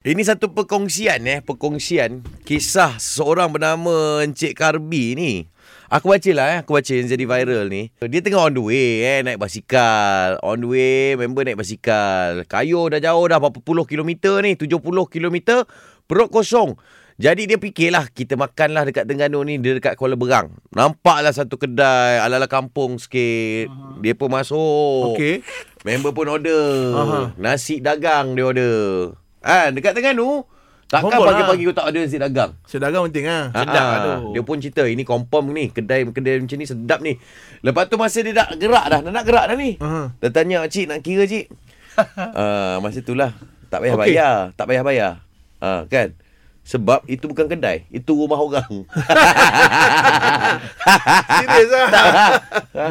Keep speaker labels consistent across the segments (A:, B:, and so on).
A: Ini satu perkongsian eh, perkongsian kisah seorang bernama Encik Karbi ni. Aku baca lah eh, aku baca yang jadi viral ni. Dia tengah on the way eh, naik basikal. On the way, member naik basikal. Kayu dah jauh dah berapa puluh kilometer ni, 70 kilometer, perut kosong. Jadi dia fikirlah kita makanlah dekat Terengganu ni, dia dekat Kuala Berang. Nampaklah satu kedai ala-ala kampung sikit. Uh-huh. Dia pun masuk.
B: Okey.
A: Member pun order.
B: Aha.
A: Nasi dagang dia order. Ha, dekat Terengganu, takkan
B: Humble lah.
A: pagi-pagi kau tak order nasi dagang.
B: Sedagang penting ah.
A: Ha,
B: Sedap
A: ha.
B: ah tu.
A: Dia pun cerita, ini confirm ni, kedai-kedai macam ni sedap ni. Lepas tu masa dia nak gerak dah, nak gerak dah ni.
B: Aha.
A: Dia tanya, cik nak kira cik? uh, masa tu lah, tak payah
B: Okey.
A: bayar, tak payah bayar. Ha, kan? Sebab itu bukan kedai, itu rumah orang.
B: Serius ah.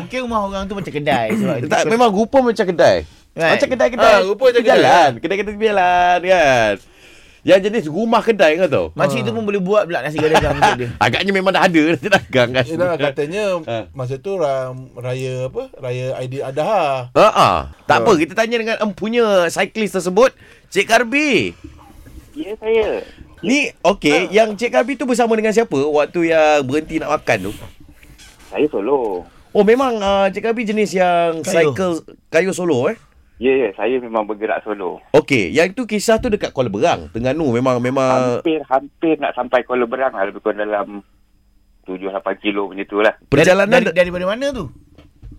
C: Mungkin rumah orang tu macam kedai sebab dia
A: tak, memang rupa macam kedai.
C: Right.
A: Macam kedai-kedai.
B: Ah, rupa macam
A: tepi jalan. Kedai-kedai tepi jalan kan. Yang jenis rumah kedai kau tahu.
C: Makcik tu pun boleh buat pula nasi gagang untuk dia.
A: Agaknya memang dah ada nasi dagang kan.
B: Yelah Eh, katanya
A: Ha.
B: masa tu ra- raya apa? Raya Aidil Adha.
A: Ha ah. Tak apa kita tanya dengan empunya cyclist tersebut, Cik Karbi.
D: Ya saya.
A: Ni okey,
B: Ah.
A: yang Cik Karbi tu bersama dengan siapa waktu yang berhenti nak makan tu?
D: Saya solo.
A: Oh memang uh, Cik Karbi jenis yang
C: Kayu.
A: cycle kayu solo eh.
D: Ya ya, saya memang bergerak solo.
A: Okey, yang tu kisah tu dekat Kuala Berang, Terengganu memang
B: Ah,
A: memang
D: Hampir hampir nak sampai Kuala Berang lah lebih kurang dalam 7 8 kilo macam tu lah.
A: perjalanan
C: dari, daripada mana tu?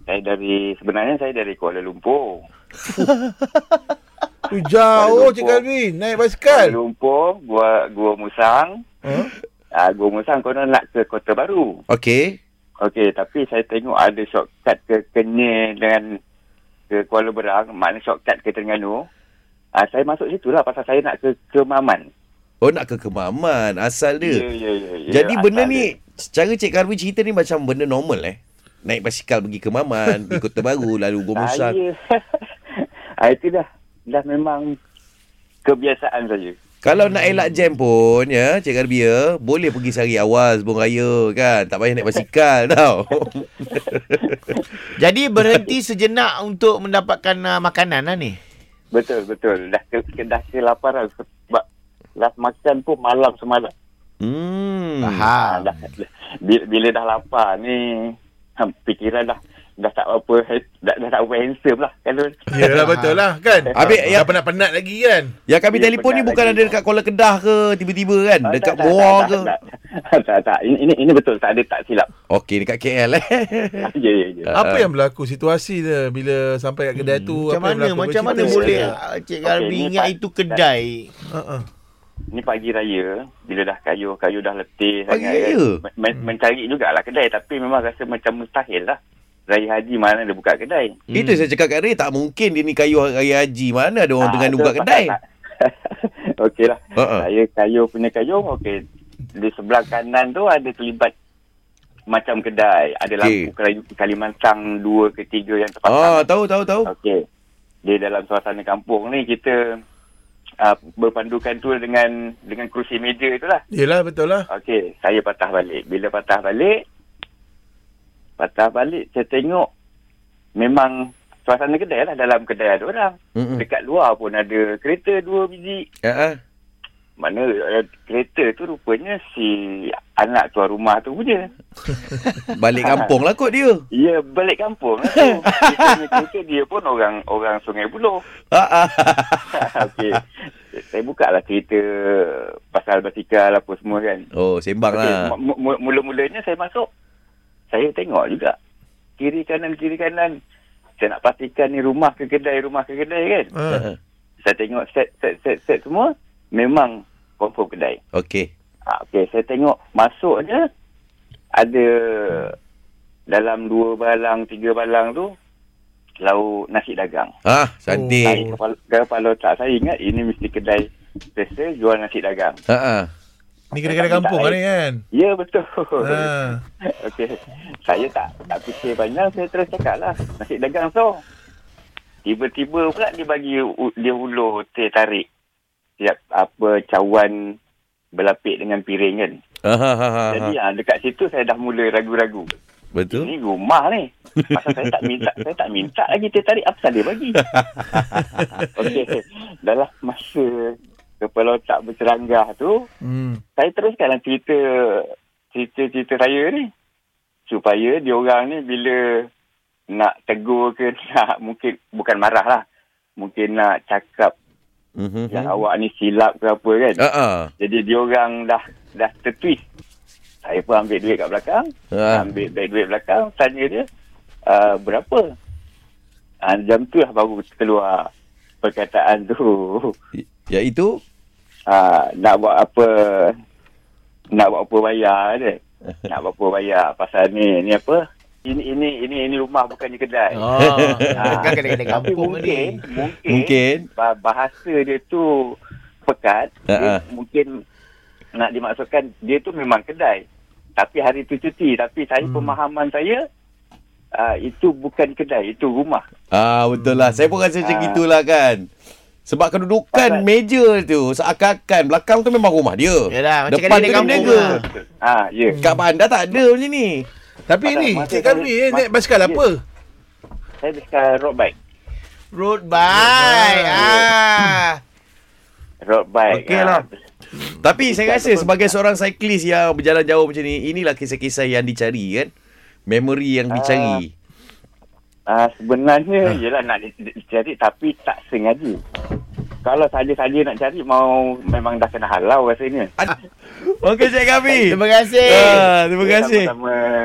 D: Saya dari sebenarnya saya dari Kuala Lumpur.
B: Tu jauh
D: Kuala Lumpur.
B: Cik Kalbi naik
A: Kan?
D: Kuala
B: basikal.
D: Lumpur, gua gua Musang.
B: Ha?
D: Ah, gua Musang konon nak ke Kota Baru.
A: Okey.
D: Okey, tapi saya tengok ada shortcut ke Kenyir dengan ke Kuala Berang, maknanya shortcut ke Terengganu. Ah, saya masuk situ lah pasal saya nak ke Kemaman.
A: Oh nak ke Kemaman asal dia.
D: ya, ya, ya.
A: Jadi benda
D: Asal dia.
A: ni Secara Cik Karwi cerita ni Macam benda normal eh Naik basikal pergi ke Maman Pergi Kota Baru Lalu Gomusan
D: Saya Ah, Itu dah Dah memang Kebiasaan saya
A: Kalau nak elak jam pun ya Cik Karbi ya Boleh pergi sehari awal Sebelum raya kan Tak payah naik basikal tau
C: Jadi berhenti sejenak untuk mendapatkan uh, makanan lah ni.
D: Betul betul Dah ke, ke dah kelaparan Sebab Last makan pun malam semalam
A: Hmm
D: ah, dah, dah- bila, bila dah lapar ni ha, Pikiran dah Dah tak apa Dah, dah tak apa handsome lah Kalau
B: Yalah betul lah kan.
A: Habis, ya.
B: dah penat-penat lagi kan.
A: Yang kami
D: Ya,
A: telefon ni
D: penat
A: Bukan
D: lagi.
A: ada dekat Kuala Kedah ke Tiba-tiba kan
D: Ah,
A: Dekat
D: tak, tak,
A: Boa
D: tak,
A: ke
D: tak, tak, tak, tak. Ini, ini, ini betul Tak ada tak silap
A: Okey dekat KL eh
D: Ya ya ya
B: Apa yang berlaku situasi dia bila sampai kat kedai tu
C: Hmm,
B: apa
C: Macam
B: yang
C: mana
B: berlaku?
C: macam mana
B: Bercerita.
C: boleh
B: Ha,
C: ah, Cik
D: Okey,
C: Garbi
D: ni
C: ingat
D: Pak-
C: itu kedai.
B: ha.
D: Ni pagi raya, bila dah kayu, kayu dah letih
A: Pagi
D: sangat
A: raya? Hmm.
D: kan. Men- mencari jugalah kedai tapi memang rasa macam mustahil lah. Raya Haji mana dia buka kedai.
A: Itu saya cakap kat Ray Tak mungkin dia ni kayu hari haji Mana ada orang
D: Ah,
A: tengah
D: tu
A: Oh, buka
D: pasal
A: kedai Ha, Ah,
D: tak- Okey lah.
A: Ha-ha.
D: Saya kayu punya kayu, okey. Di sebelah kanan tu ada terlibat macam kedai. Ada
A: Okey.
D: lampu Kali- Kalimantan dua ke tiga
A: Ah
D: yang terpasang.
A: tahu tahu tahu
D: Okey. Di dalam suasana kampung ni kita uh, berpandukan tu dengan dengan kerusi meja itulah.
B: Yalah betul lah.
D: Okey, saya patah balik. Bila patah balik, patah balik, saya tengok memang suasana kedai lah. Dalam kedai ada orang.
A: Mm-mm.
D: Dekat luar pun ada kereta dua biji.
A: Ha ah.
D: Mana eh, kereta tu rupanya si anak tuan rumah tu punya.
A: Balik kampung lah kot dia
D: Ya, balik kampung lah tu. Dia punya kereta dia pun orang orang Sungai Buloh.
A: Ha ah.
D: Okey. Saya buka lah cerita pasal basikal apa semua kan.
A: Oh sembang
D: Okey,
A: lah
D: mu- mu- mula-mulanya saya masuk. Saya tengok juga. Kiri kanan, kiri kanan. Saya nak pastikan ni rumah ke kedai, rumah ke kedai kan.
B: Ha.
A: Ah,
D: Saya tengok set, set, set, set semua. Memang confirm kedai.
A: Okey
D: Ha, okay, saya tengok masuknya ada dalam dua balang, tiga balang tu lauk nasi dagang.
A: Ah,
D: Saya
A: cantik.
D: kepala, kepala otak saya ingat ini mesti kedai biasa jual nasi dagang.
A: Ha ah.
B: Ni kedai-kedai kampung kan ni kan.
D: Ya betul.
B: Ha.
D: Okey. Saya tak tak fikir panjang, saya terus cakap lah. Nasi dagang so. Tiba-tiba pula dia bagi u- dia hulur teh tarik. Siap apa cawan berlapik dengan piring kan.
A: Ha ha ha, ha.
D: Jadi ha, dekat situ saya dah mula ragu-ragu.
A: Betul.
D: Ini rumah ni. Pasal saya tak minta, saya tak minta lagi teh tarik apa dia bagi. Okey. Dalam lah, masa kepala otak berceranggah tu
B: Hmm.
D: saya teruskanlah cerita cerita-cerita saya ni supaya dia orang ni bila nak tegur ke nak mungkin bukan marah lah mungkin nak cakap
A: Mhm.
D: yang awak ni silap ke apa kan
A: Ha ah.
D: jadi dia orang dah dah tertwist saya pun ambil duit kat belakang
A: Ah.
D: ambil beg duit belakang tanya dia uh, berapa uh, jam tu lah baru keluar perkataan tu
A: Ya itu
D: Ah, nak buat apa nak buat apa bayar dia. Nak buat apa bayar pasal ni ni apa? Ini ini ini ini rumah bukannya kedai. Ha,
C: Oh. kan kena-kena
D: Tapi
C: kampung ni.
D: mungkin, mungkin
A: mungkin
D: ba- bahasa dia tu pekat,
A: Ha, ha.
D: uh-huh. mungkin nak dimaksudkan dia tu memang kedai. Tapi hari tu cuti, tapi saya hmm. pemahaman saya uh, itu bukan kedai, itu rumah.
A: ah betul lah. Saya pun rasa macam
D: Ah.
A: gitulah kan. Sebab kedudukan
D: Pasal-
A: meja tu seakan-akan belakang tu memang rumah dia.
C: Yalah, macam
A: Depan
C: kedai
A: tu
C: kampung
A: niaga.
C: lah.
D: Ah, ya.
A: Kat bandar tak ada macam ni.
B: Tapi
D: Pasal
B: ni,
D: masa
B: Cik
D: saya-
B: Karmi eh,
D: ma-
B: naik basikal
D: ya.
B: apa?
D: Saya dekat road bike.
C: Road bike. Ah.
D: Road bike.
A: Okey
D: ah.
A: lah. Tapi saya rasa sebagai seorang cyclist yang berjalan jauh macam ni, inilah kisah-kisah yang dicari kan. Memori yang dicari.
D: Ah sebenarnya
A: Hmm.
D: ialah nak di- di- dicari tapi tak sengaja. Kalau saja-saja nak cari mau memang dah kena halau rasanya.
A: Okey Cik Kami.
C: Terima kasih.
A: Ah, terima kasih.
D: Sama-sama.